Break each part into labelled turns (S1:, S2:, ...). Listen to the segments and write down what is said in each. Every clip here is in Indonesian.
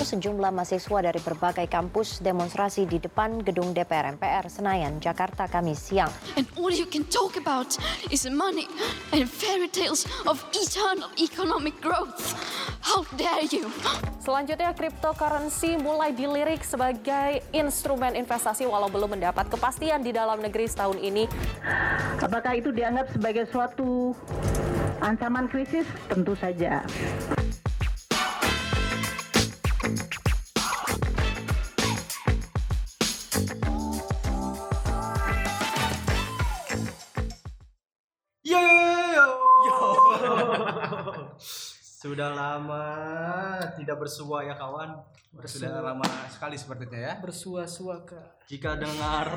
S1: sejumlah mahasiswa dari berbagai kampus demonstrasi di depan gedung DPR MPR Senayan, Jakarta Kamis siang.
S2: And all you can talk about is money and fairy tales of eternal economic growth. How dare you?
S3: Selanjutnya, cryptocurrency mulai dilirik sebagai instrumen investasi walau belum mendapat kepastian di dalam negeri setahun ini.
S4: Apakah itu dianggap sebagai suatu ancaman krisis? Tentu saja.
S5: Yo yo yo. Sudah lama tidak bersua ya kawan. Sudah lama sekali sepertinya ya.
S6: bersua-sua ke
S5: Jika dengar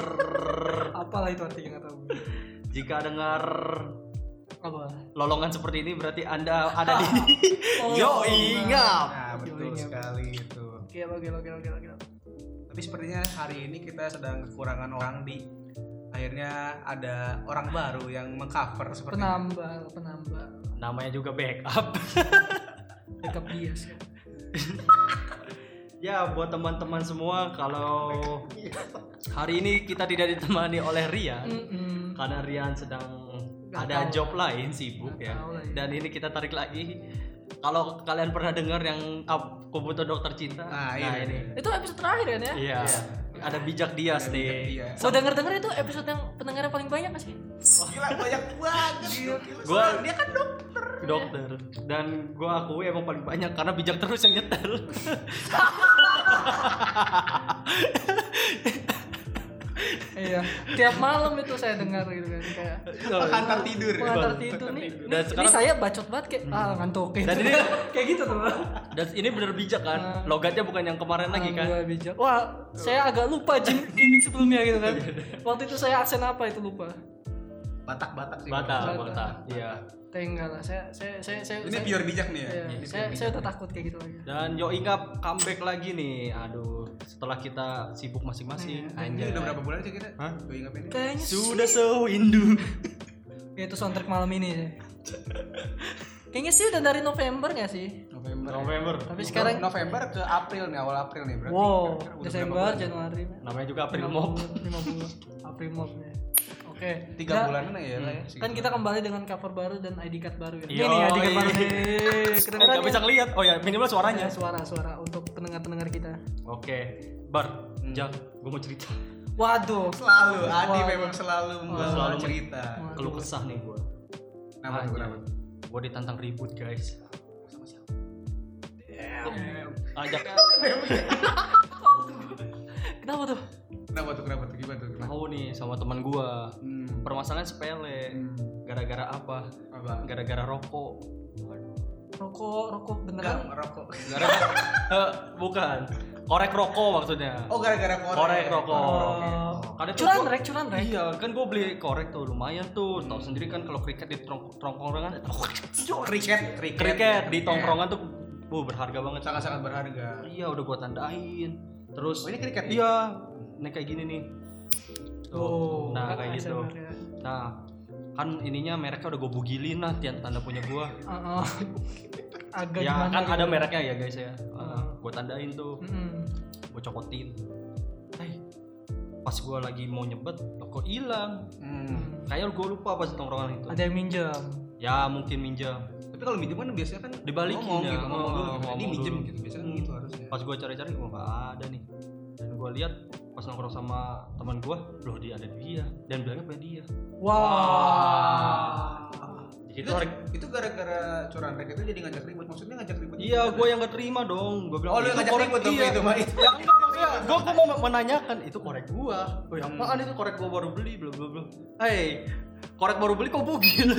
S6: apalah itu artinya nggak tahu
S5: jika dengar
S6: apa
S5: lolongan seperti ini berarti Anda ada di Yo Ingap. Oh, Nah, betul
S6: Yo, Ingap.
S5: sekali itu.
S6: gila gila gila gila gila
S5: Tapi sepertinya hari ini kita sedang kekurangan orang di akhirnya ada orang baru yang mengcover seperti
S6: penambah penambah
S5: namanya juga backup.
S6: backup bias ya
S5: ya buat teman-teman semua kalau hari ini kita tidak ditemani oleh Rian
S6: Mm-mm.
S5: karena Rian sedang
S6: Gak
S5: ada
S6: tahu.
S5: job lain sibuk ya.
S6: Gak tahu lah ya.
S5: Dan ini kita tarik lagi. Kalau kalian pernah dengar yang up, kubuto dokter cinta, nah, ini.
S6: itu episode terakhir kan ya
S5: Iya. Ada bijak Dias nih.
S6: gue denger denger itu episode yang pendengarnya paling banyak nggak sih
S5: Gua dia kan dokter. Dokter. Dan gua akui emang paling banyak karena bijak terus yang nyetel.
S6: iya tiap malam itu saya dengar gitu kan kayak
S5: Oh, iya. Pengantar tidur.
S6: pengantar tidur nih
S5: Dan
S6: ini
S5: sekarang
S6: saya bacot banget kayak ah ngantuk kayak
S5: Dan
S6: gitu.
S5: ini-
S6: kayak gitu tuh
S5: dan ini bener bijak kan? Logatnya bukan yang kemarin lagi kan?
S6: Gua bijak. Wah, saya agak lupa gim- gimmick sebelumnya gitu kan. Waktu itu saya aksen apa itu lupa.
S7: Batak Batak sih.
S5: Batal,
S6: Batal.
S5: batal. Iya.
S6: Kayak enggak lah. Saya saya saya saya
S7: Ini
S6: saya-
S7: biar bijak nih ya.
S6: Iya, saya, saya udah takut kayak gitu lagi.
S5: Dan Yo Ingap comeback lagi nih. Aduh, setelah kita sibuk masing-masing.
S7: Iya. Ini
S5: Anjay.
S7: udah berapa bulan sih kita?
S5: Hah?
S7: Gue ingat ini.
S6: Kayaknya
S5: Sudah sewindu.
S6: Ya, itu soundtrack malam ini sih. Kayaknya sih udah dari November gak sih?
S7: November.
S5: November.
S6: Tapi sekarang
S7: November ke April nih, awal April nih berarti.
S6: wow,
S7: Kira-kira udah berapa
S6: Desember,
S7: bulan?
S6: Januari,
S5: Namanya juga April Mop.
S6: 5 bulan, April Mop ya. Oke.
S7: Tiga
S6: Nah,
S7: bulan ya lah ya.
S5: Hmm.
S6: Kan kita kembali dengan cover baru dan ID card baru ya.
S5: Yoi.
S6: Ini nih ID card baru nih. Kedengeran
S5: Gak bisa ngeliat. Oh ya, minimal suaranya.
S6: ya? suara-suara untuk pendengar-pendengar kita.
S5: Oke, Bar,
S7: Hmm.
S5: Jack, gue mau cerita.
S6: Waduh.
S7: selalu Adi
S6: Wah.
S7: memang selalu membawa
S5: selalu men-
S7: cerita.
S5: Keluh kesah nih gue.
S7: Kenapa tuh kenapa? tuh?
S5: Gue ditantang ribut guys. Sama siapa? Ajak.
S6: Kenapa tuh?
S7: Kenapa tuh kenapa tuh gimana tuh gimana?
S5: Tahu nih sama teman gue.
S7: Hmm.
S5: Permasalahan sepele.
S7: Hmm.
S5: Gara-gara apa?
S7: Apa?
S5: Gara-gara rokok.
S6: Rokok, rokok
S7: Enggak
S6: beneran.
S7: merokok.
S5: Gara-gara Eh, bukan. Korek rokok maksudnya.
S7: Oh gara-gara korek.
S5: korek rokok.
S6: Oh.
S5: Kadang tuh
S6: Curan
S5: gua-
S6: rek, curan rek.
S5: Iya, kan gue beli korek tuh lumayan tuh. Tahu sendiri kan kalau kriket di tongk- tongkrongan,
S7: Kriket, kriket.
S5: kriket
S7: Iya.
S5: di tongkrongan tuh, bu berharga banget.
S7: sangat-sangat berharga.
S5: Iya, udah gue tandain. Terus,
S7: Oh, ini kriket nih?
S5: Iya, ini kayak gini nih. Tuh,
S6: Oh,
S5: nah kayak gitu.
S6: ASMR ya.
S5: Nah, kan ininya mereknya udah gue bugilin lah tian- tanda punya gue.
S6: Heeh. Agak
S5: Ya
S6: gimana
S5: kan
S6: gitu.
S5: ada mereknya ya guys ya.
S6: Hmm.
S5: Gue tandain tuh.
S6: Mm-mm.
S5: gue cokotin eh pas gue lagi mau nyebet loh kok hilang
S7: Hmm.
S5: kayak gue lupa pas di tongkrongan itu
S6: Ada yang minjam.
S5: ya mungkin minjam
S7: Tapi kalau minjem kan biasanya kan
S5: Dibalikin
S7: ngomong
S5: ya,
S7: gitu, ngomong dulu.
S5: ngomong,
S7: gitu. Ini
S5: ngomong
S7: minjem
S5: dulu.
S7: gitu, biasanya kan gitu harusnya.
S5: pas gue cari-cari oh nggak ada nih dan gue lihat pas nongkrong sama teman gue loh dia ada dia dan bilangnya punya dia
S7: Ah.
S6: Wah.
S5: Jadi itu hari-
S7: itu gara-gara curan rek itu jadi ngajak ribut maksudnya ngajak ribut
S5: iya gue yang gak terima dong gue bilang
S7: Oh, lu
S5: "Itu
S7: yang ngajak
S5: korek
S7: ribut dong
S5: dia."
S7: itu mah Iya, itu.
S5: ya enggak maksudnya gue gue mau menanyakan itu korek gue oh
S7: Hmm.
S5: ya apaan itu korek gue baru beli belum belum belum hei korek baru beli kok bugil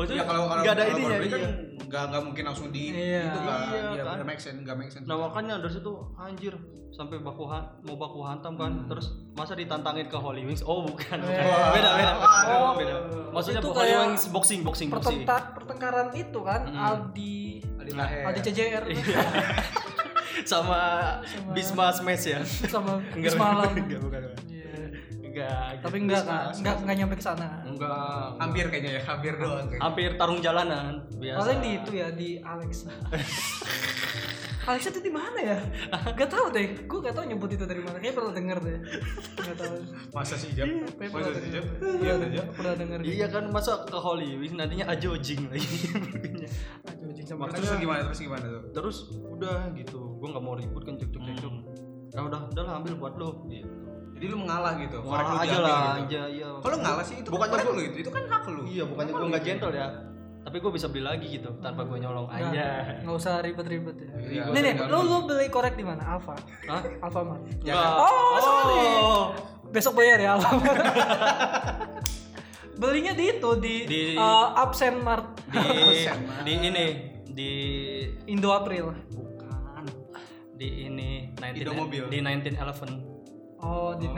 S7: Ya kalau kalau
S5: nggak ada
S7: kalau
S5: ininya
S7: baru beli kan
S5: iya.
S7: nggak nggak mungkin langsung di
S6: Iya.
S7: itu kan.
S5: Iya,
S7: Iya,
S5: kan.
S7: nggak make sense, nggak make sense.
S5: Nah makanya dari situ anjir sampai baku han- mau baku hantam kan terus masa ditantangin ke Holy Wings oh bukan, bukan.
S7: Hmm. Wah.
S5: beda beda Oh,
S7: Waduh.
S5: beda maksudnya
S6: Itu
S5: bu- Holy
S6: kayak
S5: Wings boxing boxing boxing
S6: Pertenta- pertengkaran itu kan
S5: Mm.
S6: Aldi
S7: Adi
S5: nah,
S7: Taher.
S6: Aldi CJR
S5: Iya. sama,
S6: Sama-
S5: Bisma Smash ya
S6: sama
S5: Iya. Enggak,
S6: Semalam.
S5: enggak, bukan, bukan.
S6: Iya.
S5: Enggak.
S6: Tapi
S5: gitu.
S6: enggak kan, enggak enggak nyampe ke sana.
S5: Enggak.
S7: hampir kayaknya ya hampir doang kayaknya.
S5: Hampir tarung jalanan biasa.
S6: Paling di itu ya di Alexa. Alexa itu di mana ya? Gak tau deh, gue gak tau nyebut itu dari mana. Kayaknya pernah denger deh. Gak tau.
S7: masa sih jam
S6: Kayaknya
S7: masa
S6: pernah
S7: sih
S6: denger.
S7: jam
S6: Iya, pernah denger.
S5: Iya kan masa ke Holy Wings nantinya ajojing lagi.
S6: Aduh, anjing, sama
S7: terus
S6: aja.
S7: gimana terus gimana tuh
S5: Terus udah gitu, gua nggak mau ribut kan cekcok cekcok. Nah udah, udah lah ambil buat lo. Gitu.
S7: jadi lu mengalah gitu korek lu
S5: Ngalah aja
S7: diambil
S5: lah,
S7: gitu.
S5: aja iya.
S7: kalau ngalah sih itu
S5: Bukannya
S7: bukannya
S5: gua-
S7: lu itu itu kan hak lu
S5: Iya, bukannya
S7: Kenapa
S5: gue
S7: lu
S5: nggak
S7: gitu?
S5: gentle ya. Tapi gue bisa beli lagi gitu tanpa gue nyolong aja.
S6: Nggak usah ribet-ribet ya.
S7: Iya,
S6: Nih nih,
S7: tinggal
S6: lu lu beli korek di mana? Alfa.
S5: Hah?
S6: Alfa Mart.
S5: Enggak.
S6: Oh, sorry. Besok bayar ya Alfa Mart. Belinya di itu di,
S5: Di-
S6: eh, Absen Mart
S5: Di di ini di
S6: Indo April.
S5: bukan di ini 19
S7: Indomobil.
S5: di 1911.
S6: Oh, di,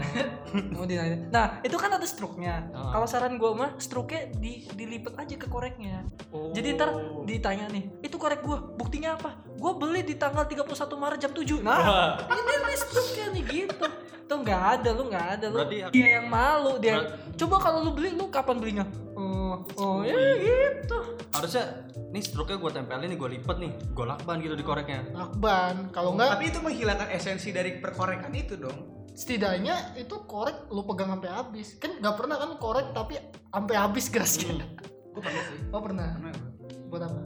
S6: oh, di Nah, itu kan ada struknya.
S5: Ah.
S6: Kalau saran gue mah struknya di dilipet aja ke koreknya.
S5: Oh.
S6: Jadi ntar ditanya nih, itu korek gue. Buktinya apa? Gue beli di tanggal 31 Maret jam 7. Nah, ini nih struknya nih gitu. Tuh nggak ada, lu nggak ada lu.
S5: Berarti
S6: dia yang malu dia.
S5: Berat-
S6: Coba kalau lu beli, lu kapan belinya? Oh, oh ya gitu.
S5: harusnya nih struknya gue tempelin nih gue lipet nih gue lakban gitu di koreknya
S8: Lakban. Kalau enggak
S7: tapi itu menghilangkan esensi dari perkorekan itu dong
S8: setidaknya itu korek lu pegang sampai habis. Kan nggak pernah kan korek tapi sampai habis gasnya.
S7: gue pernah sih
S8: Oh pernah.
S7: pernah gua.
S8: Buat apa?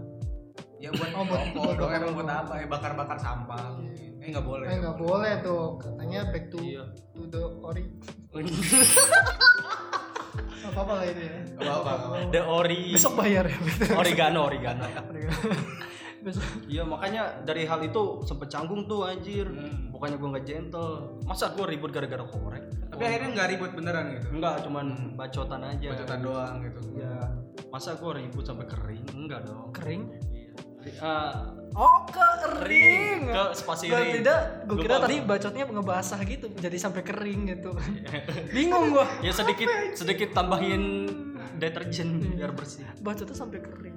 S7: ya buat
S8: Oh, buat-
S7: kompor
S8: buat
S7: dong
S8: bakar
S7: emang buat apa ya bakar bakar sampah eh nggak boleh
S8: Eh nggak boleh tuh. Katanya back to,
S5: Iya.
S8: to the ori. Gak apa-apa lah itu ya.
S7: Nggak apa apa
S5: the ori
S8: Besok bayar ya.
S5: oregano oregano
S6: Besok.
S5: iya makanya dari hal itu sempet canggung tuh anjir bukannya gue nggak gentle masa gue ribut gara-gara korek
S7: tapi akhirnya nggak ribut beneran gitu
S5: enggak cuman bacotan aja
S7: bacotan doang gitu
S5: iya masa gue ribut sampai kering enggak dong
S6: Kering.
S5: iya Eh,
S6: Oh, kering.
S5: ke spasi
S6: Gua
S5: ring.
S6: tidak, gue
S5: Lupa
S6: kira
S5: gua.
S6: tadi bacotnya ngebasah gitu, jadi sampai kering gitu. Bingung gua.
S5: ya sedikit sedikit tambahin deterjen biar bersih
S6: Bacotnya sampai kering.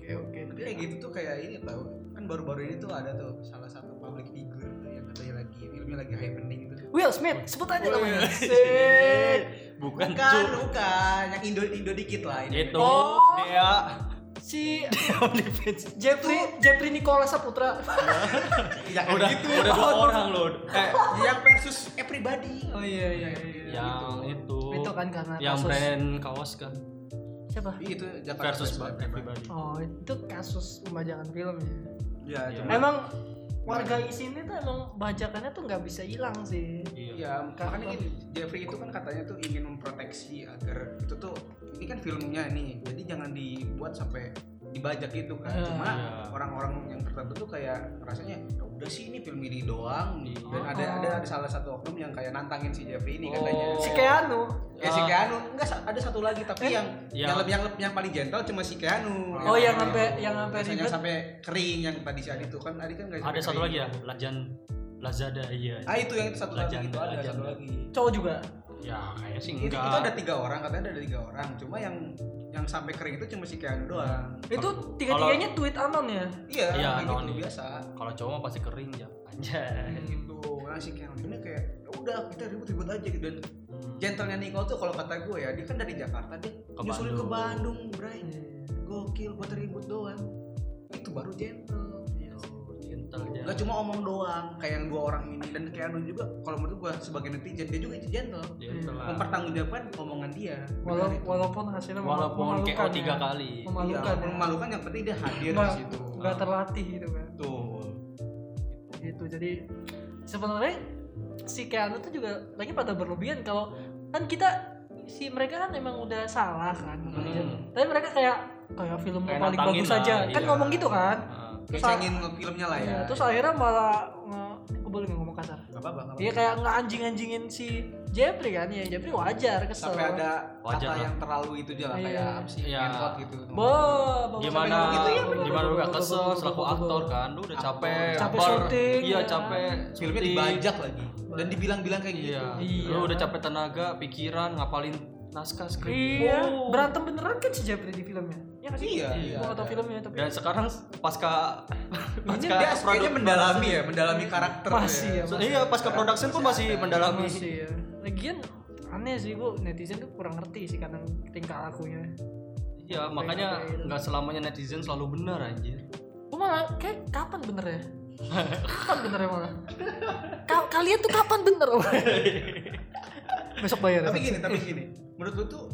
S7: oke oke tapi kayak gitu tuh kayak ini tau kan baru-baru ini tuh ada tuh salah satu public figure tuh yang katanya lagi filmnya lagi happening gitu
S6: Will Smith, sebut aja namanya. Eh,
S5: bukan
S7: bukan
S5: cu
S7: bukan yang indo indo dikit lah ini
S5: itu
S6: Oh.
S5: dia
S6: Si
S5: OnlyFans
S6: Jeffrey Jeffrey Nicola Saputra.
S7: ya
S5: udah
S7: gitu
S5: udah dua orang loh eh
S7: yang versus everybody
S6: Oh iya iya iya.
S5: yang itu
S6: Itu kan karena
S5: yang
S6: kasus.
S5: brand kaos kan
S6: Siapa?
S7: itu Jakarta
S5: versus
S7: Best
S5: Bang
S7: Buy.
S5: everybody
S6: Oh, itu kasus pembajakan film ya.
S7: ya
S5: Iya.
S7: cuma
S6: Emang warga di sini tuh emang bajakannya tuh nggak bisa hilang sih.
S5: iya
S7: Ya, makanya gini, Jeffrey itu kan katanya tuh ingin memproteksi agar itu tuh ini kan filmnya nih, jadi jangan dibuat sampai dibajak gitu kan.
S6: Ya,
S7: Cuma
S5: iya.
S7: orang-orang yang tertentu tuh kayak rasanya ya udah sih ini film ini doang.
S5: Iya.
S7: Dan ada, ada ada salah satu oknum yang kayak nantangin si Jeffrey ini katanya.
S5: Oh.
S6: Si Keanu.
S7: Ya
S6: Ah.
S7: si Keanu, enggak sa- ada satu lagi tapi yang
S5: Iya.
S7: yang lebih yang, lebih- yang paling gentle cuma si Keanu.
S6: Eh, Oh, yang sampai- yang sampai
S7: Biasanya
S6: ribet.
S7: sampai kering yang tadi si Adi tuh kan Adi kan nggak
S5: ada
S7: sampai
S5: satu
S7: kering.
S5: lagi ya Lajan Lazada iya
S7: Ah itu yang itu satu lagi
S5: Lajang,
S7: itu ada
S5: lajang.
S7: satu lagi.
S6: Cowok juga.
S5: ya kayaknya sih
S7: Itu, itu ada
S5: enggak
S7: tiga orang katanya ada tiga orang. Cuma yang yang sampai kering itu cuma si Keanu doang.
S6: Itu tiga-tiganya tweet aman ya.
S7: Iya,
S5: Iya,
S7: kayak gitu
S5: Keanu.
S7: biasa.
S5: kalau cowok mah pasti kering ya
S6: Hmm.
S5: anjay
S7: Kayak gitu. Nah si Keanu ini kayak "Ya udah kita ribut-ribut aja gitu dan gentlenya Nicole tuh kalau kata gue ya dia kan dari Jakarta dia nyusulin ke
S5: Bandung.
S7: Bandung, Bray. Gokil buat ribut doang. Itu baru Iya gentle.
S5: gentle ya
S7: Gak cuma omong doang kayak yang dua orang ini dan Keanu juga kalau menurut gue sebagai netizen dia juga gentle.
S5: gentle lah
S7: Mempertanggungjawabkan omongan dia. Iya,
S6: Walau,
S7: Benar itu.
S6: walaupun hasilnya mema-
S5: walaupun
S6: memalukan
S5: KO tiga
S6: ya.
S5: kali
S6: Memalukan.
S7: Iya,
S6: ya.
S7: memalukan yang penting dia hadir di
S6: Nggak-
S7: situ.
S6: nggak terlatih gitu kan.
S7: Betul.
S6: Gitu. Jadi sebenarnya si Keanu tuh juga lagi pada berlebihan kalau kan kita si mereka kan emang udah salah kan.
S5: Hmm.
S6: Tapi mereka kayak kayak film
S5: Kayak
S6: paling
S5: nantangin
S6: bagus
S5: lah,
S6: aja. Kan
S5: iya.
S6: ngomong gitu kan.
S5: Ah.
S6: Terus
S7: Terus ingin ke filmnya lah ya.
S6: Iya, terus akhirnya malah nge- gue boleh nggak ngomong kasar.
S7: Gak apa-apa. nggak
S6: Iya kayak nggak anjing-anjingin si Jeffrey kan ya Jeffrey wajar
S7: apa-apa.
S6: kesel.
S7: Sampai ada
S5: Wajar
S7: kata
S5: lah.
S7: yang terlalu itu aja lah
S6: Iya.
S7: kayak apa sih?
S5: Iya.
S7: Handphone gitu.
S6: Bo, bo-
S5: gimana
S6: sampai gitu, iya, bener.
S5: gimana lu gak
S6: Bo- bo- bo-
S5: kesel
S6: bo-
S5: selaku
S6: bo- bo- bo-
S5: aktor kan lu udah capek
S6: Capek
S5: bar-
S6: syuting,
S5: iya
S6: ya.
S5: capek
S7: Filmnya
S5: syuting.
S7: dibajak lagi dan dibilang-bilang kayak gitu.
S5: iya
S6: Iya.
S5: lu udah capek tenaga pikiran ngapalin naskah skrip
S6: Iya,
S5: Wow.
S6: berantem beneran kan si Jeffrey di filmnya. Ya nggak sih?
S7: Iya, iya,
S6: Gua nggak tahu
S7: ada.
S6: filmnya tapi
S5: dan sekarang pasca
S7: Ini
S5: pasca
S7: dia kayaknya
S5: produk-
S7: mendalami ya, mendalami karakter.
S6: Masih ya,
S5: iya pasca production pun Iya, masih mendalami
S6: masih ya. Lagian aneh sih gua netizen tuh kurang ngerti sih kadang tingkah lakunya
S5: Iya, makanya nggak selamanya netizen selalu benar anjir.
S6: Gua malah kayak kapan bener ya kapan bener ya malah Ka- kalian tuh kapan bener besok bayar ya?
S7: tapi gini tapi gini menurut lu tuh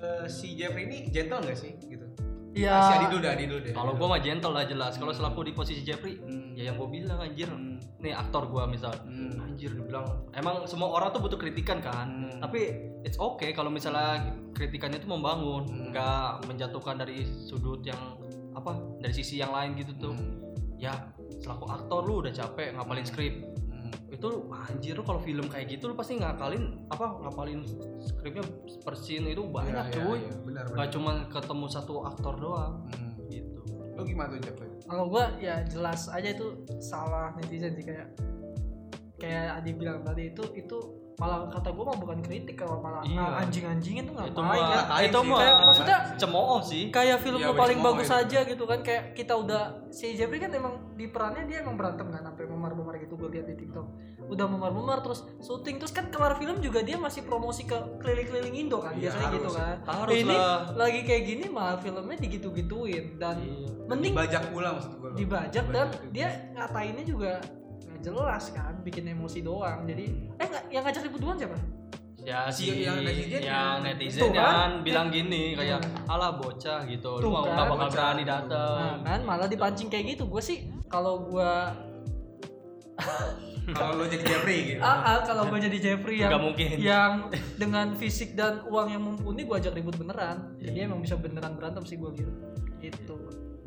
S7: eh, si Jeffrey ini gentle nggak sih gitu
S6: Iya.
S7: si Adi dulu deh Adi dulu deh
S5: Kalau gua mah gentle lah jelas. Kalau selaku di posisi Jeffrey,
S7: Iya. Hmm.
S5: ya yang gua bilang anjir.
S7: Hmm.
S5: Nih aktor gua misal,
S7: Hmm.
S5: anjir dibilang. Emang semua orang tuh butuh kritikan kan.
S7: Hmm.
S5: Tapi it's okay kalau misalnya kritikannya tuh membangun,
S7: Hmm.
S5: nggak menjatuhkan dari sudut yang apa dari sisi yang lain gitu tuh.
S7: Hmm.
S5: Ya selaku aktor lu udah capek ngapalin skrip,
S7: Hmm.
S5: itu anjir lu kalau film kayak gitu lu pasti ngakalin apa ngapalin skripnya per scene itu banyak
S7: Iya, iya,
S5: cuy
S7: iya, benar
S5: nggak
S7: benar
S5: cuma ketemu satu aktor doang
S7: Hmm.
S5: gitu
S7: lu gimana tuh Jeffrey
S6: kalau gua ya jelas aja itu salah netizen sih kayak kayak Adi bilang tadi itu itu malah kata gua mah bukan kritik kalau malah
S5: Iya.
S6: anjing-anjingin tuh
S5: itu
S6: ngapain ya
S5: mah
S7: ngapain
S5: itu
S7: sih?
S5: mah
S6: Kayak maksudnya
S5: cemooh sih
S6: kayak film
S7: Iya,
S6: lu
S7: wes,
S6: paling
S7: ngomong
S6: bagus
S7: itu.
S6: aja gitu kan kayak kita udah si Jeffrey kan emang di perannya dia emang berantem kan sampai memar-memar gitu gue lihat di TikTok udah memar-memar terus syuting terus kan kelar film juga dia masih promosi ke keliling-keliling Indo kan
S7: Iya,
S6: biasanya
S7: harus.
S6: gitu kan
S5: Harus
S6: ini
S5: lah. Iya.
S6: lagi kayak gini malah filmnya digitu-gituin dan mending
S7: dibajak pula maksud gua lu.
S6: dibajak dan
S7: juga.
S6: dia ngatainnya juga nggak jelas kan bikin emosi doang jadi eh nggak yang ngajak ribut duluan siapa
S5: ya
S6: Iya,
S5: si
S7: Si- yang netizen
S5: yang
S7: yang-
S5: netizen
S6: Tuh kan?
S5: yang bilang gini kayak ala bocah gitu lu
S6: Tuh
S5: mau
S6: kan,
S5: nggak bakal
S7: bocah.
S5: berani
S7: Eh,
S6: nah,
S5: datang
S6: kan malah dipancing kayak gitu gue sih kalau gue
S7: kalau lu jadi Jeffrey gitu
S6: ah, ah, kalau gue jadi Jeffrey yang
S5: nggak mungkin
S6: yang dengan fisik dan uang yang mumpuni gue ajak ribut beneran
S7: Iya.
S6: jadi emang bisa beneran berantem sih gue gitu gitu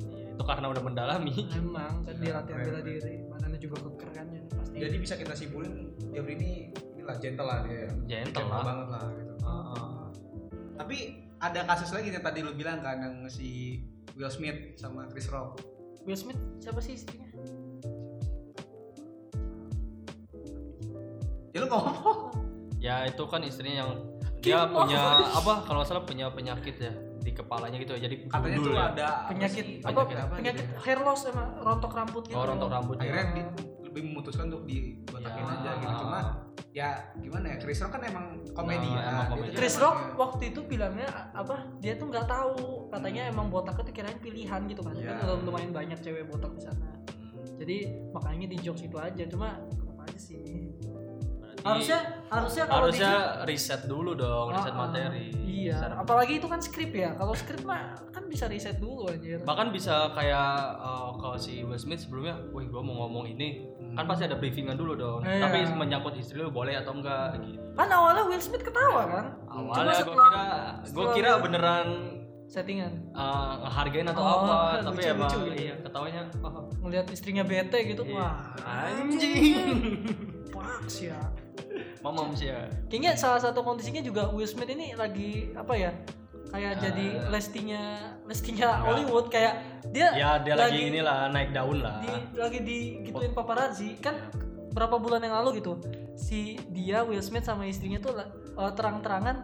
S5: Iya, itu karena udah mendalami
S6: emang kan dia latihan
S7: Iya, keren,
S6: bela
S7: keren.
S6: diri badannya juga keker kan ya pasti
S7: jadi bisa kita simpulin Jeffrey ini inilah gentle lah dia
S5: Gentle lah.
S7: banget lah gitu
S5: Ah,
S7: tapi ada kasus lagi yang tadi lu bilang kan yang si Will Smith sama Chris Rock
S6: Will Smith siapa sih istrinya
S7: ya lu ngomong apa?
S5: ya itu kan istrinya yang dia
S6: Kim
S5: punya apa kalau nggak salah punya penyakit ya di kepalanya gitu ya jadi
S7: katanya
S5: gundul
S7: tuh
S5: ya.
S7: ada apa
S6: penyakit
S7: sih?
S6: apa
S5: penyakit
S7: apa
S6: penyakit
S7: gitu.
S6: hair loss emang rontok rambut gitu
S5: oh rontok rambutnya
S7: akhirnya di, lebih memutuskan untuk dibatakin
S6: Iya.
S5: Ya.
S7: aja gitu cuma ya gimana ya Chris Rock kan emang gitu kan. komedi
S5: Nah, emang komedi.
S6: Iya, Chris Rock waktu itu bilangnya apa dia tuh nggak tahu katanya emang botak itu kirain pilihan gitu kan
S7: Iya.
S6: kan lumayan banyak cewek botak di sana
S5: Hmm.
S6: jadi makanya di jokes itu aja cuma apa aja sih
S5: Berarti-
S6: harusnya harusnya kalau di
S5: harusnya riset dulu dong riset
S6: Ah, ah.
S5: materi
S6: iya
S5: Riset-
S6: apalagi itu kan skrip ya kalau skrip mah kan bisa riset dulu anjir
S5: bahkan bisa kayak eh, kalau si Will Smith sebelumnya, wih gua mau ngomong ini kan pasti ada briefingan dulu dong.
S6: Iya.
S5: Tapi menyangkut istri lu boleh atau enggak gitu.
S6: kan awalnya Will Smith ketawa kan
S5: Awalnya gua
S6: setelah-
S5: kira gua
S6: setelah-
S5: kira beneran
S6: settingan
S5: eh, ngehargain atau
S6: Oh,
S5: apa,
S6: lucu-
S5: tapi emang
S6: lucu gitu.
S5: iya ketawanya oh,
S6: ngelihat istrinya bete gitu
S5: Iya.
S6: wah
S5: anjing.
S6: paks ya
S5: Mamam sih ya.
S6: kayaknya salah satu kondisinya juga Will Smith ini lagi apa ya kayak
S5: Eh.
S6: jadi lestinya lestinya Hollywood kayak dia
S5: Ya dia lagi, inilah naik daun lah.
S6: di, lagi digituin paparazzi kan berapa bulan yang lalu gitu si dia Will Smith sama istrinya tuh la- eh, terang-terangan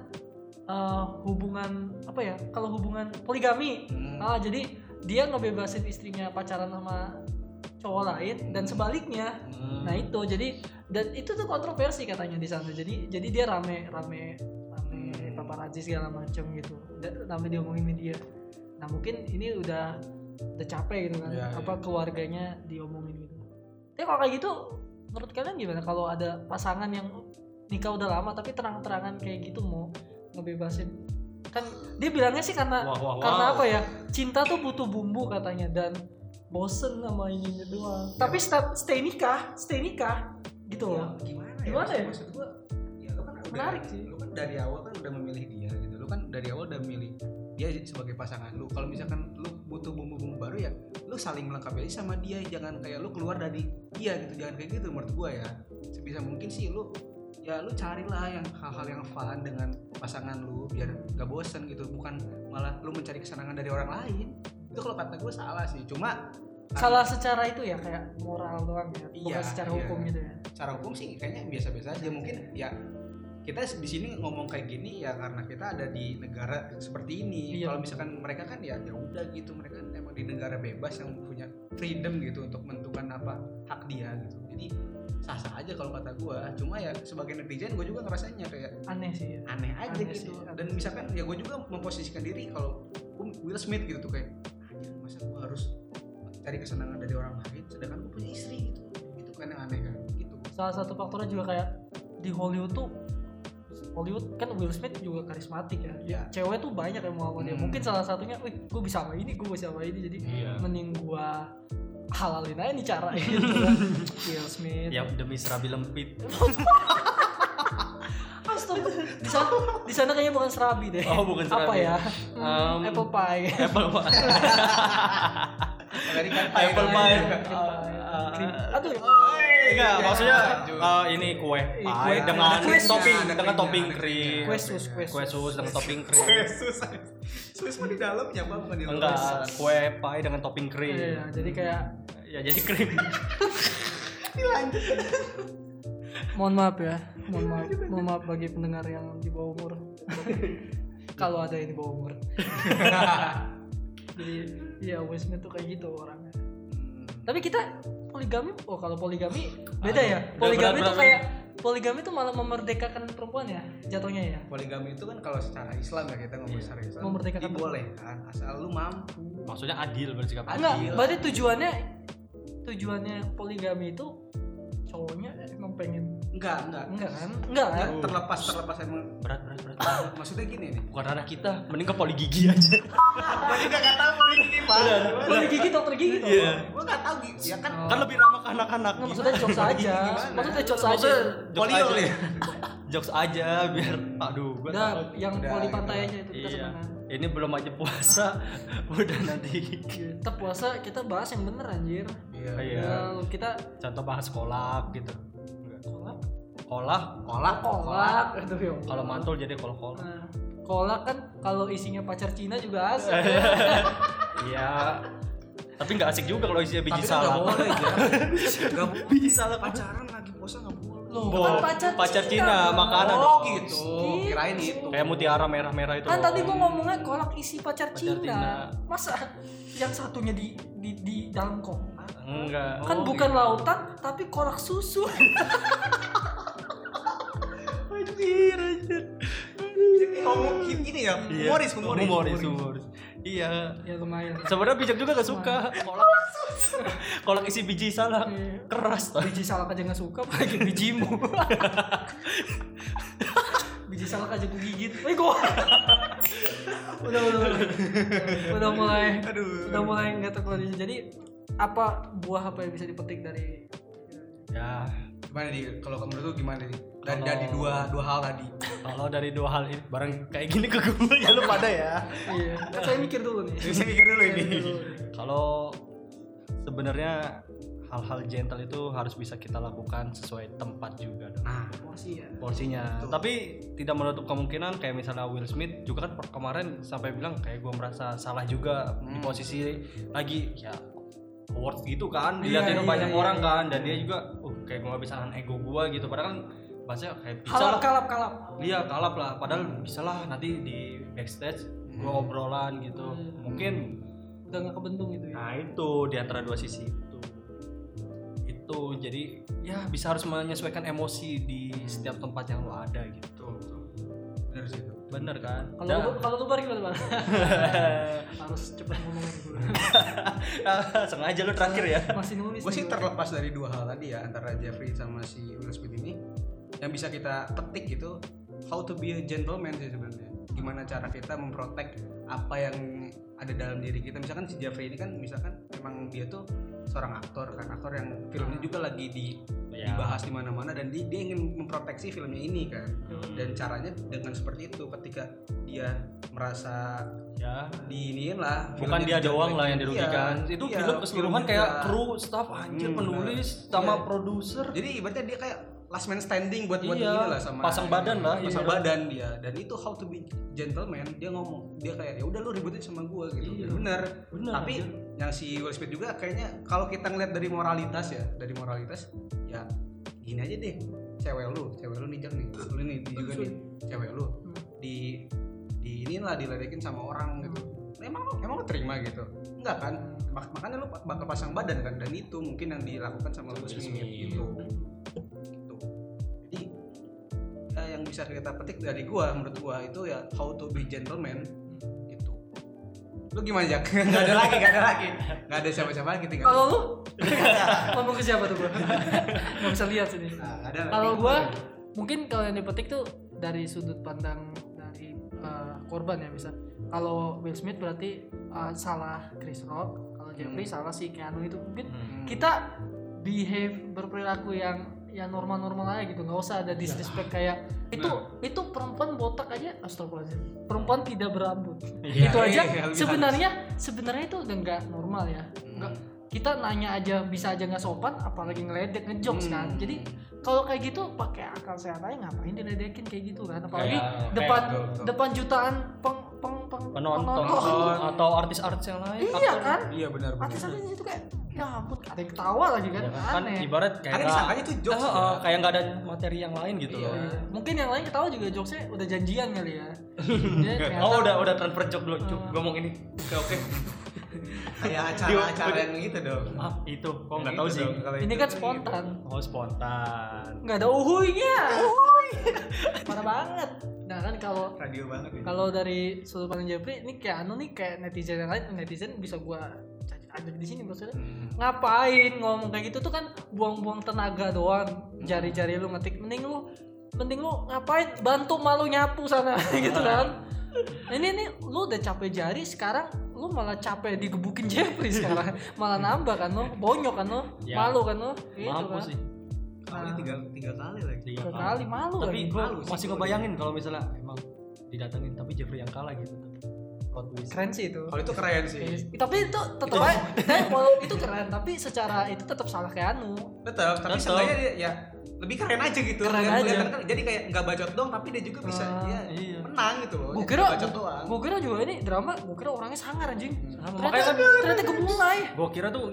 S6: eh, hubungan apa ya kalau hubungan poligami
S5: Hmm.
S6: ah jadi dia ngebebasin istrinya pacaran sama cowok lain dan sebaliknya
S5: Hmm.
S6: Nah itu jadi dan itu tuh kontroversi katanya di sana. Jadi jadi dia rame rame rame paparazzi segala macam gitu. Da- rame diomongin media. Nah mungkin ini udah udah capek gitu kan.
S7: Ya,
S6: Apa keluarganya diomongin gitu. Tapi kalau kayak gitu menurut kalian gimana kalau ada pasangan yang nikah udah lama tapi terang-terangan kayak gitu mau ngebebasin kan dia bilangnya sih karena
S5: Wah, wah,
S6: karena
S5: wah.
S6: apa ya cinta tuh butuh bumbu katanya dan bosen sama ininya doang tapi
S7: Iya.
S6: step stay nikah stay nikah gitu
S7: Ya,
S6: loh
S7: gimana ya
S6: Gimana ya?
S7: maksud gua ya lu kan udah,
S6: Menarik sih.
S7: lu kan dari awal kan udah memilih dia gitu lu kan dari awal udah milih dia sebagai pasangan lu kalau misalkan lu butuh bumbu-bumbu baru ya lu saling melengkapi aja sama dia jangan kayak lu keluar dari dia gitu jangan kayak gitu menurut gua ya sebisa mungkin sih lu ya lu carilah yang hal-hal yang fun dengan pasangan lu biar gak bosen gitu bukan malah lu mencari kesenangan dari orang lain itu kalau kata gue salah sih cuma
S6: salah secara itu ya kayak moral doang ya bukan
S7: Iya,
S6: secara
S7: iya.
S6: hukum gitu ya
S7: cara hukum sih kayaknya biasa-biasa aja mungkin ya kita di sini ngomong kayak gini ya karena kita ada di negara seperti ini.
S6: Iya.
S7: Kalau misalkan mereka kan ya ya udah gitu mereka kan emang di negara bebas yang punya freedom gitu untuk menentukan apa hak dia gitu. Jadi sah-sah aja kalau kata gua. Cuma ya sebagai netizen gua juga ngerasanya kayak
S6: aneh sih ya.
S7: aneh aja
S6: Aneh
S7: gitu.
S6: sih, aneh
S7: Dan
S6: sih.
S7: misalkan ya gue juga memposisikan diri kalau gua Will Smith gitu tuh kayak anjir masa gue harus cari kesenangan dari orang lain sedangkan gue punya istri gitu. Itu kan yang aneh kan gitu.
S6: salah satu faktornya juga kayak di Hollywood tuh Hollywood kan Will Smith juga karismatik ya
S7: Ya.
S6: cewek tuh banyak yang mau sama dia
S7: Hmm.
S6: mungkin salah satunya wih gue bisa sama ini gue bisa sama ini jadi
S5: Iya.
S6: mending gue halalin aja nih cara gitu Will Smith
S5: Ya demi serabi lempit.
S6: Astaga. di sana di sana kayaknya bukan serabi deh
S5: Oh, bukan
S6: apa
S5: serabi.
S6: ya
S5: Um,
S6: apple pie
S5: Apple pie.
S7: Dari kan
S5: Apple pie.
S6: Krim-
S5: ah, Uh,
S6: aduh ya.
S5: Enggak, maksudnya eh, ini kue. Pie
S6: kue.
S5: dengan
S6: Kue sus.
S5: topping,
S7: Ada
S5: dengan
S7: krimnya,
S5: topping
S7: ada
S5: krim.
S7: krimnya.
S6: kue sus kue
S5: Kue
S6: sus
S5: sus dengan topping krim.
S7: Yesus. Yesus mah di dalamnya Pak, bukan di luar.
S5: Enggak, kue pie dengan topping krim.
S6: Iya, jadi kayak
S5: Ya jadi krim.
S6: mohon maaf ya mohon maaf mohon maaf bagi pendengar yang di bawah umur kalau ada yang di bawah umur jadi ya Will Smith tuh kayak gitu orangnya
S7: Hmm,
S6: tapi kita poligami oh kalau poligami beda ya
S5: Aduh,
S6: poligami tuh
S5: berat-berat.
S6: kayak poligami tuh malah memerdekakan perempuan ya jatuhnya ya
S7: Poligami itu kan kalau secara Islam ya kita ngomong secara Islam.
S6: Memerdekakan
S7: dibolehkan asal lu mampu.
S5: Maksudnya adil bersikap adil.
S6: enggak berarti tujuannya tujuannya poligami itu cowoknya emang pengen
S7: Enggak, enggak.
S6: enggak kan enggak
S7: Ya,
S6: kan
S7: terlepas terlepas emang
S5: Berat berat berat.
S7: maksudnya gini nih.
S5: Bukan ranah kita, mending ke poli gigi aja.
S7: Gua juga enggak tahu poligami Pak.
S6: Poli gigi dokter gigi tuh
S5: Iya.
S7: Gua enggak tahu gitu. Ya kan
S5: Kan lebih ramah ke anak-anak.
S6: Nggak, maksudnya jokes aja maksudnya jokes aja
S5: Maksudnya jokes
S7: Polio
S5: aja.
S7: ya?
S5: Jokes aja biar aduh gua
S6: udah
S5: takut.
S6: yang
S7: Udah,
S6: poli
S7: gitu.
S6: pantai aja itu kita
S5: Iya.
S6: senang
S5: Ini belum aja puasa udah nanti.
S6: kita puasa kita bahas yang bener anjir
S5: Iya.
S6: Ya, kita
S5: Contoh bahas kolak gitu.
S6: kolak
S5: Kolak,
S7: kolak
S6: kolak aduh ya Allah.
S5: kalau mantul jadi kolak-kolak.
S6: Nah, kolak kan kalau isinya pacar Cina juga asik
S5: Iya. Tapi nggak asik juga kalau isinya biji
S7: Tapi kan nggak
S5: salak.
S7: boleh ya. Nggak boleh.
S5: Biji salak
S7: Pacaran lagi puasa enggak boleh.
S6: Loh,
S5: Bo-
S6: kan pacar,
S5: pacar Cina,
S6: Bang.
S5: makanan.
S7: Oh gitu.
S6: Gitu.
S7: Kirain itu.
S5: Kayak mutiara merah-merah itu.
S6: Kan
S5: loh.
S6: tadi gua ngomongnya kolak isi pacar,
S5: Pacar
S6: Cina.
S5: Cina.
S6: Masa yang satunya di di di dalam kolak?
S5: Enggak. Oh, gitu. iya.
S6: kan bukan lautan tapi kolak susu.
S5: anjir, anjir.
S7: Ngomong gini ya. Humoris, humoris.
S5: Iya. Humoris, humoris. Iya.
S6: ya lumayan.
S5: Sebenarnya bijak juga gak suka. Kolak kolak isi biji salak
S6: Iya.
S5: keras tadi.
S6: Biji salak aja nggak suka apalagi bijimu. Biji salak aja gua gigit. Eh gua. udah, udah, udah. Udah mulai. Udah mulai nggak terkoordinasi. Jadi apa buah apa yang bisa dipetik dari
S5: Ya,
S7: Gimana nih kalau menurut lu gimana nih? Dari
S5: Kalau-
S7: dari dua dua hal tadi.
S5: Ya, kalau dari dua hal ini barang kayak gini ke gue ya lu pada ya.
S6: Iya, kan saya mikir dulu nih.
S5: Iya.
S7: Saya mikir dulu ini.
S5: Kalau sebenarnya hal-hal gentle itu harus bisa kita lakukan sesuai tempat juga dong.
S7: Nah,
S6: Emosi ya.
S5: porsinya.
S7: Betul.
S5: Tapi tidak menutup kemungkinan kayak misalnya Will Smith juga kan per- kemarin sampai bilang kayak gue merasa salah juga di
S7: Hmm.
S5: posisi lagi ya awards gitu kan
S6: Iya,
S5: dilihatin
S6: iya,
S5: banyak
S6: iya,
S5: orang
S6: iya.
S5: kan dan dia juga uh kayak gue bisa nahan ego gue gitu padahal kan bahasanya kayak bisa
S6: Kalap,
S5: lah
S6: kalap, kalap.
S5: iya kalap lah padahal bisa lah nanti di backstage gue obrolan gitu
S6: Hmm.
S5: mungkin
S6: Udah nggak kebentung itu ya.
S5: Nah itu di antara dua sisi itu. Itu jadi ya bisa harus menyesuaikan emosi di setiap tempat yang lo ada gitu.
S7: benar sih itu.
S5: Bener kan?
S6: Kalau
S5: Dan-
S6: lu, kalau lu bar gimana Bar? Harus cepet ngomongin dulu.
S5: sengaja lu terakhir ya.
S6: Masih nulis.
S7: Gue sih
S6: nih,
S7: terlepas dari dua hal tadi ya antara Jeffrey sama si Will Smith ini yang bisa kita petik itu how to be a gentleman sih sebenarnya. Gimana cara kita memprotek apa yang ada dalam diri kita. Misalkan si Jeffrey ini kan misalkan memang dia tuh seorang aktor kan aktor yang filmnya juga lagi di,
S5: Ya.
S7: dibahas di mana-mana dan di- dia ingin memproteksi filmnya ini kan. Dan caranya dengan seperti itu ketika dia merasa
S5: ya.
S7: diiniin lah
S5: Bukan
S7: filmnya
S5: dia
S7: dijelekin.
S5: doang lah yang dirugikan.
S7: Iya,
S5: itu
S7: iya,
S5: film keseluruhan
S7: film
S5: kayak
S7: juga.
S5: kru, staff, anjir,
S7: Hmm,
S5: penulis, sama
S7: Iya.
S5: produser.
S7: jadi ibaratnya dia kayak last man standing buat buat
S5: Iya,
S7: ini lah sama
S5: pasang badan lah,
S7: pasang
S5: iya.
S7: badan dia dan itu how to be gentleman dia ngomong dia kayak ya udah lu ributin sama gua gitu
S5: Iya.
S7: Dan bener
S5: Bener,
S7: tapi yang si Will Smith juga kayaknya kalau kita ngeliat dari moralitas ya dari moralitas ya gini aja deh cewek lu cewek lu nih Jack nih
S5: Ah,
S7: lu nih di- juga nih cewek lu
S5: Hmm.
S7: di di inilah diledekin sama orang gitu
S5: Hmm.
S7: emang lu emang lu terima gitu enggak kan Mak- makanya lu pa- bakal pasang badan kan dan itu mungkin yang dilakukan sama lu Smith gitu Gitu. jadi ya, yang bisa kita petik dari gua menurut gua itu ya how to be gentleman gitu lu gimana Jack? gak ada lagi gak ada lagi gak ada siapa-siapa lagi tinggal
S6: Kalau lu ngomong ke siapa tuh gua? Gak bisa lihat sini.
S7: Nah, nggak ada
S6: Kalau
S7: lagi.
S6: gua mungkin kalau yang dipetik tuh dari sudut pandang dari eh, korban ya bisa. Kalau Will Smith berarti eh, salah Chris Rock, kalau Jeffrey salah si Keanu itu mungkin
S7: Hmm.
S6: kita behave berperilaku yang yang normal-normal aja gitu nggak
S7: Iya.
S6: usah ada disrespect kayak itu itu perempuan botak aja astagfirullahaladzim perempuan tidak berambut
S5: Iya.
S6: itu gitu aja
S7: iya, lebih
S6: sebenarnya sebenarnya itu udah nggak normal ya
S7: Hmm.
S6: nggak kita nanya aja bisa aja nggak sopan apalagi ngeledek ngejokes kan
S7: Hmm.
S6: jadi kalau kayak gitu pakai akal sehat aja ngapain diledekin kayak gitu kan apalagi
S5: Kayak- kayak
S6: depan
S7: Iya, betul, betul.
S6: depan jutaan peng peng peng
S5: penonton atau artis-artis yang lain
S6: iya
S5: aktor.
S6: kan
S7: iya benar benar
S6: artis artis itu kayak ya ampun ada yang ketawa lagi kan
S5: Ya kan
S6: aneh
S5: ibarat kayak
S7: karena disangkanya itu jokes
S6: Oh,
S5: Eh,
S7: ya.
S5: eh, kayak nggak ada materi yang lain gitu
S7: Iya.
S5: loh.
S6: mungkin yang lain ketawa juga jokesnya udah janjian kali ya Dia ternyata- Hmm.
S5: Oh udah udah transfer jok dulu, Cuk. ngomong ini. Oke oke.
S6: Iya,
S7: kayak acara-acara yang gitu dong
S6: Ah.
S5: Maaf Ah, itu, kok nggak
S7: Gitu
S5: tahu sih.
S7: dong, kalau
S6: ini
S7: itu
S6: kan
S7: tuh
S6: spontan
S5: Oh spontan.
S6: nggak ada uhuinya parah banget nah kan kalau
S7: gitu. radio banget ya
S6: kalau dari sudut pandang Jeffrey ini kayak anu nih kayak netizen yang lain netizen bisa gua caci ajak di sini maksudnya
S5: Hmm.
S6: ngapain ngomong kayak gitu tuh kan buang-buang tenaga doang
S5: Hmm.
S6: jari-jari lu ngetik mending lu mending lu ngapain bantu malu nyapu sana gitu kan ini nih lu udah capek jari sekarang lu malah capek digebukin Jeffrey sekarang malah nambah kan lo bonyok kan lo
S5: Ya.
S6: malu kan lo gitu kan
S5: Mampus sih.
S7: kali tiga tiga kali lagi
S5: Tiga
S6: Tiga
S5: kali.
S6: kali malu
S5: Tapi
S6: lagi.
S5: gue
S7: Malu sih,
S5: masih
S7: gua.
S5: ngebayangin kalau misalnya emang didatengin tapi Jeffrey yang kalah gitu. Plot twist.
S6: keren sih itu
S7: kalau itu keren sih
S5: Iya.
S6: tapi itu tetap aja tapi walau itu keren tapi secara itu tetap salah anu. Keanu
S7: tetap tapi
S5: Tetep.
S7: seenggaknya dia ya lebih keren aja gitu
S6: Keren
S7: Yang
S6: aja.
S7: kelihatan kan, jadi kayak nggak bacot doang tapi dia juga bisa
S6: Ah,
S7: dia
S5: iya.
S7: menang gitu loh
S6: gue
S7: Jadi
S6: kira
S7: bacot doang
S6: gue kira juga ini drama gue kira orangnya sangar anjing
S5: Makanya
S6: ternyata
S5: kan-
S6: ternyata gemulai
S5: Gue kira tuh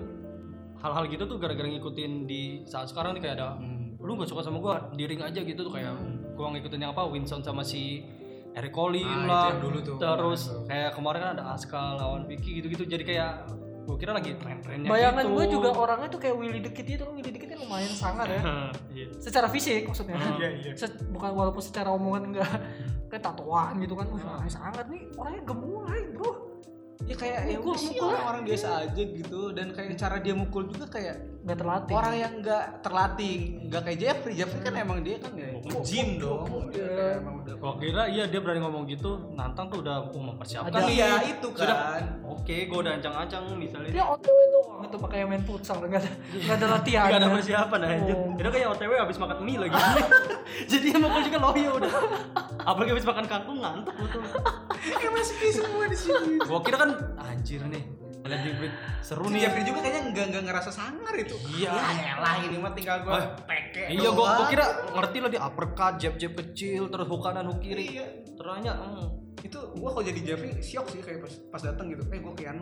S5: hal-hal gitu tuh gara-gara ngikutin di saat sekarang nih kayak ada hmm,
S7: Hmm.
S5: lu gak suka sama gua di ring aja gitu tuh kayak gua ngikutin yang apa Winston sama si Eric Collins
S7: Ah, itu
S5: lah
S7: yang dulu tuh.
S5: terus
S7: Nah, Kemarin tuh.
S5: kayak kemarin kan ada Aska lawan Vicky gitu-gitu jadi kayak gua kira lagi tren-trennya
S6: bayangan
S5: gitu.
S6: gue juga orangnya tuh kayak Willy Dikit itu Willy Dikit kan lumayan sangar ya
S5: Hah, iya.
S6: secara fisik maksudnya
S5: Iya, iya.
S6: Se- bukan walaupun secara omongan enggak kayak tatoan gitu kan Wih, orangnya sangar nih orangnya gemulai bro
S7: ya kayak ya
S6: Mukul,
S7: udah sih
S6: mukul.
S7: orang orang biasa aja gitu dan kayak cara dia mukul juga kayak
S6: nggak terlatih
S7: orang yang nggak terlatih nggak kayak Jeffrey Jeffrey kan emang dia kan ya gym dong
S6: iya.
S7: Dia kayak emang udah
S5: gua kira iya dia berani ngomong gitu nantang tuh udah oh, mempersiapkan
S6: Ada-
S5: nih.
S7: iya itu kan
S5: oke gua udah ancang-ancang misalnya
S6: dia otw doang itu pakai main futsal nggak ada nggak ada latihan ya.
S5: Gak ada persiapan aja.
S6: Oh.
S5: Itu kayak OTW abis makan mie lagi. Jadi emang gue juga loyo udah. Apalagi abis makan kangkung ngantuk betul.
S7: MSP semua di sini
S5: Gua kira kan anjir nih. Ngeliat di break seru nih.
S7: Uni
S5: ya.
S7: Jeffrey juga kayaknya nggak nggak ngerasa sangar itu.
S5: Iya.
S7: Ya elah ini mah tinggal gua
S5: Ah,
S7: peke.
S5: Iya gua, gua
S7: doang.
S5: kira ngerti lah dia uppercut, jab jab kecil, terus hook kanan hook kiri.
S7: Iya.
S5: Ternyata hmm.
S7: itu gua kalau jadi Jeffrey syok sih kayak pas pas datang gitu. Eh gua kian.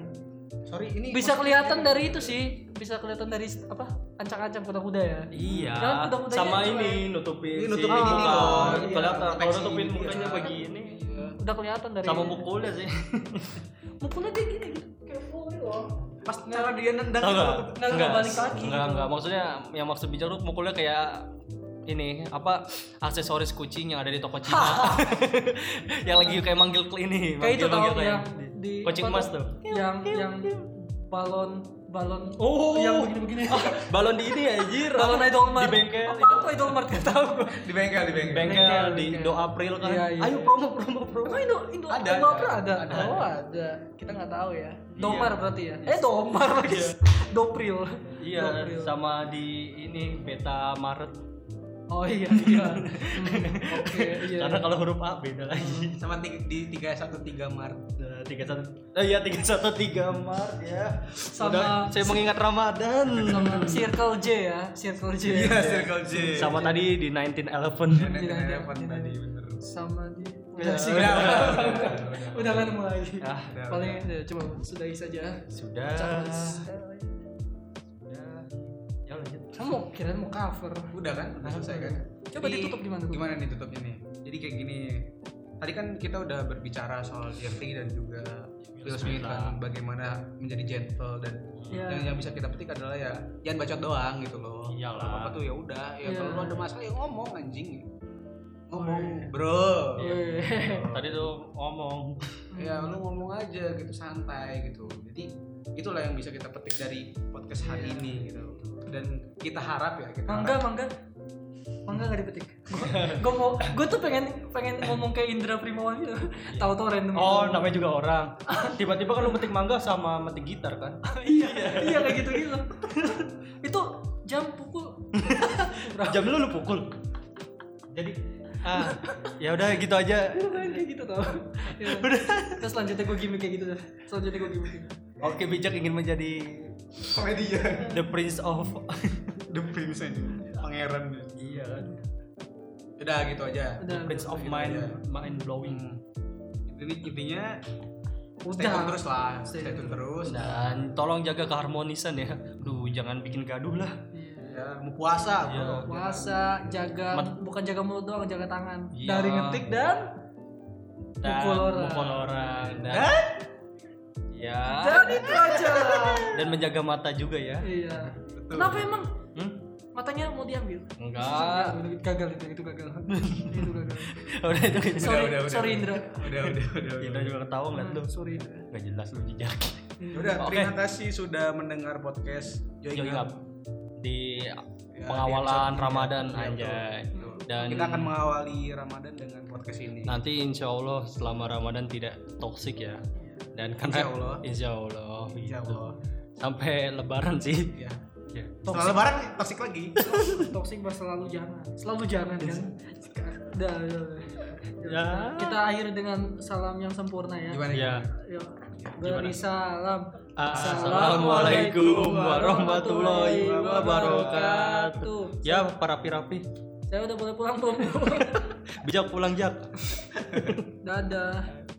S7: Sorry ini
S6: bisa kelihatan dari itu sih bisa kelihatan dari apa ancang-ancang kuda-kuda ya
S5: Iya,
S6: Kan kuda-kudanya
S5: sama
S6: cuma-
S5: ini nutupin,
S7: Ini kan. Iya, nutupin
S5: si
S7: ini
S5: muka.
S7: loh. Iya,
S5: Kelihatan kalau
S7: proteksi
S5: nutupin
S7: dia. Iya.
S5: mukanya begini.
S6: udah kelihatan dari
S5: Sama mukulnya sih.
S6: mukulnya dia gini gitu kayak volley loh
S7: pas cara dia nendang
S5: Tahu
S7: itu.
S5: nggak?
S6: Nggak, nggak balik lagi
S5: Enggak,
S6: gitu.
S5: enggak. Maksudnya yang maksud bicara tuh mukulnya kayak ini apa aksesoris kucing yang ada di toko Cina yang lagi kayak manggil ke ini
S6: kayak itu tau
S5: manggil-manggil
S6: yang
S5: kayak
S6: di
S5: kucing
S6: apa
S5: emas tuh
S6: yang yang balon balon
S5: Oh.
S6: yang begini-begini
S5: balon di ini ya anjir
S6: balon
S5: Apa?
S6: idol mart
S5: di bengkel
S6: apa apa idol mart gak tau gue
S7: Di bengkel di bengkel.
S5: bengkel di Indo April kan
S6: Iya, iya.
S5: ayo promo promo promo
S6: emang indo indo
S7: Ada,
S6: Indo
S7: ada,
S6: apa ada
S7: ada.
S6: oh ada kita nggak tahu ya domar berarti ya eh domar lagi dopril
S5: iya
S6: Dopril.
S5: sama di ini beta Maret
S6: oh iya iya Hmm, oke iya
S5: karena kalau huruf A beda lagi
S7: Sama di, di 313 Maret.
S5: tiga satu eh iya tiga satu tiga Maret ya
S6: Sama-
S5: Udah, saya mengingat Ramadan
S6: sama circle J ya circle J
S7: Iya, Circle J.
S5: sama tadi di 1911
S7: Nenek
S6: Tidak ada,
S7: telepon
S6: tidak
S7: tadi
S6: ada.
S7: bener.
S6: sama di
S5: Ya,
S6: udah sih
S5: udah,
S6: udah kan mulai
S5: Ah,
S7: udah,
S6: paling ya, cuma sudahi saja
S5: sudah sudah ya lanjut
S6: kamu kirain mau cover
S7: Udah kan? Udah selesai kan?
S6: Coba ditutup gimana tuh?
S7: Gimana nih tutupnya nih? Jadi kayak gini. Tadi kan kita udah berbicara soal Jeffrey dan juga Will Smith kan bagaimana menjadi gentle dan
S6: Iya.
S7: yang yang bisa kita petik adalah ya jangan bacot doang gitu loh.
S5: Iyalah.
S7: Apa tuh ya udah ya
S6: Iya.
S7: kalau lu ada masalah ya ngomong anjing. Ngomong,
S6: Woi.
S7: bro.
S6: Eh,
S5: Tadi tuh ngomong
S7: Ya lu ngomong aja gitu santai gitu. Jadi itulah yang bisa kita petik dari podcast hari
S6: Iya.
S7: ini gitu. Dan kita harap ya kita
S6: mangga
S7: harap-
S6: mangga mangga gak dipetik gue mau gue tuh pengen pengen ngomong kayak Indra Primawan gitu tahu-tahu random gitu.
S5: Oh namanya juga orang Tiba-tiba kan lu metik mangga sama metik gitar kan
S6: iya iya kayak gitu gitu itu jam pukul
S5: Jam lu lu pukul Jadi ah ya udah gitu aja
S6: Itu kan kayak gitu tau ya. terus selanjutnya gue gimmick kayak gitu selanjutnya gue gimmick gitu.
S5: Oke bijak ingin menjadi
S7: komedian.
S5: the prince of
S7: ya, The Prince aja pangeran
S5: Iya kan
S7: udah gitu aja
S6: udah
S5: Prince of mind mind blowing
S7: jadi intinya stay
S6: udah
S7: tune terus lah stay,
S6: Stay
S7: tune
S6: tune.
S7: terus
S5: Dan tolong jaga keharmonisan ya Duh jangan bikin gaduh lah
S6: Iya.
S7: ya mau puasa
S5: Iya.
S7: bro.
S6: puasa jaga
S5: Mat-
S6: bukan jaga mulut doang jaga tangan
S5: Iya.
S6: dari ngetik dan
S5: Dan
S6: Mukul orang.
S5: mukul orang. Dan, ya
S6: dan itu aja
S5: dan menjaga mata juga ya
S6: iya
S7: Betul.
S6: kenapa emang
S5: Hmm? Ah,
S6: matanya mau diambil
S5: Enggak
S6: Gagal, gagal itu itu gagal itu gagal
S5: Udah itu itu.
S6: sorry
S7: udah, udah.
S6: sorry Indra
S7: udah udah udah
S5: Kita
S7: udah
S5: juga ketawa ngeliat lu
S6: sorry Indra
S5: Gak jelas lu jejak
S7: Ya udah
S5: Oke.
S7: terima kasih sudah mendengar podcast
S5: Join
S7: Up.
S5: up Di
S7: Iya, Ya, di
S5: pengawalan
S7: episode-
S5: Ramadan
S7: Iya, betul.
S5: anjay
S7: Betul.
S5: Dan
S7: kita akan mengawali Ramadan dengan podcast ini
S5: nanti insya Allah selama Ramadan tidak toksik ya Dan karena
S7: Insya Allah.
S5: Insya Allah,
S7: Insya
S5: gitu.
S7: Allah
S5: Sampai lebaran sih
S7: ya
S5: Ya.
S7: setelah lebaran toxic lagi
S6: toxic mas selalu jangan selalu jangan kan udah, udah, udah.
S5: Ya.
S6: kita akhiri dengan salam yang sempurna ya
S7: gimana
S5: Ya.
S6: Yuk.
S5: Gimana? Ah,
S6: beri salam
S5: Assalamualaikum warahmatullahi wabarakatuh. Ya, para pirapi,
S6: saya udah boleh pulang belum
S5: bijak pulang jak.
S6: dadah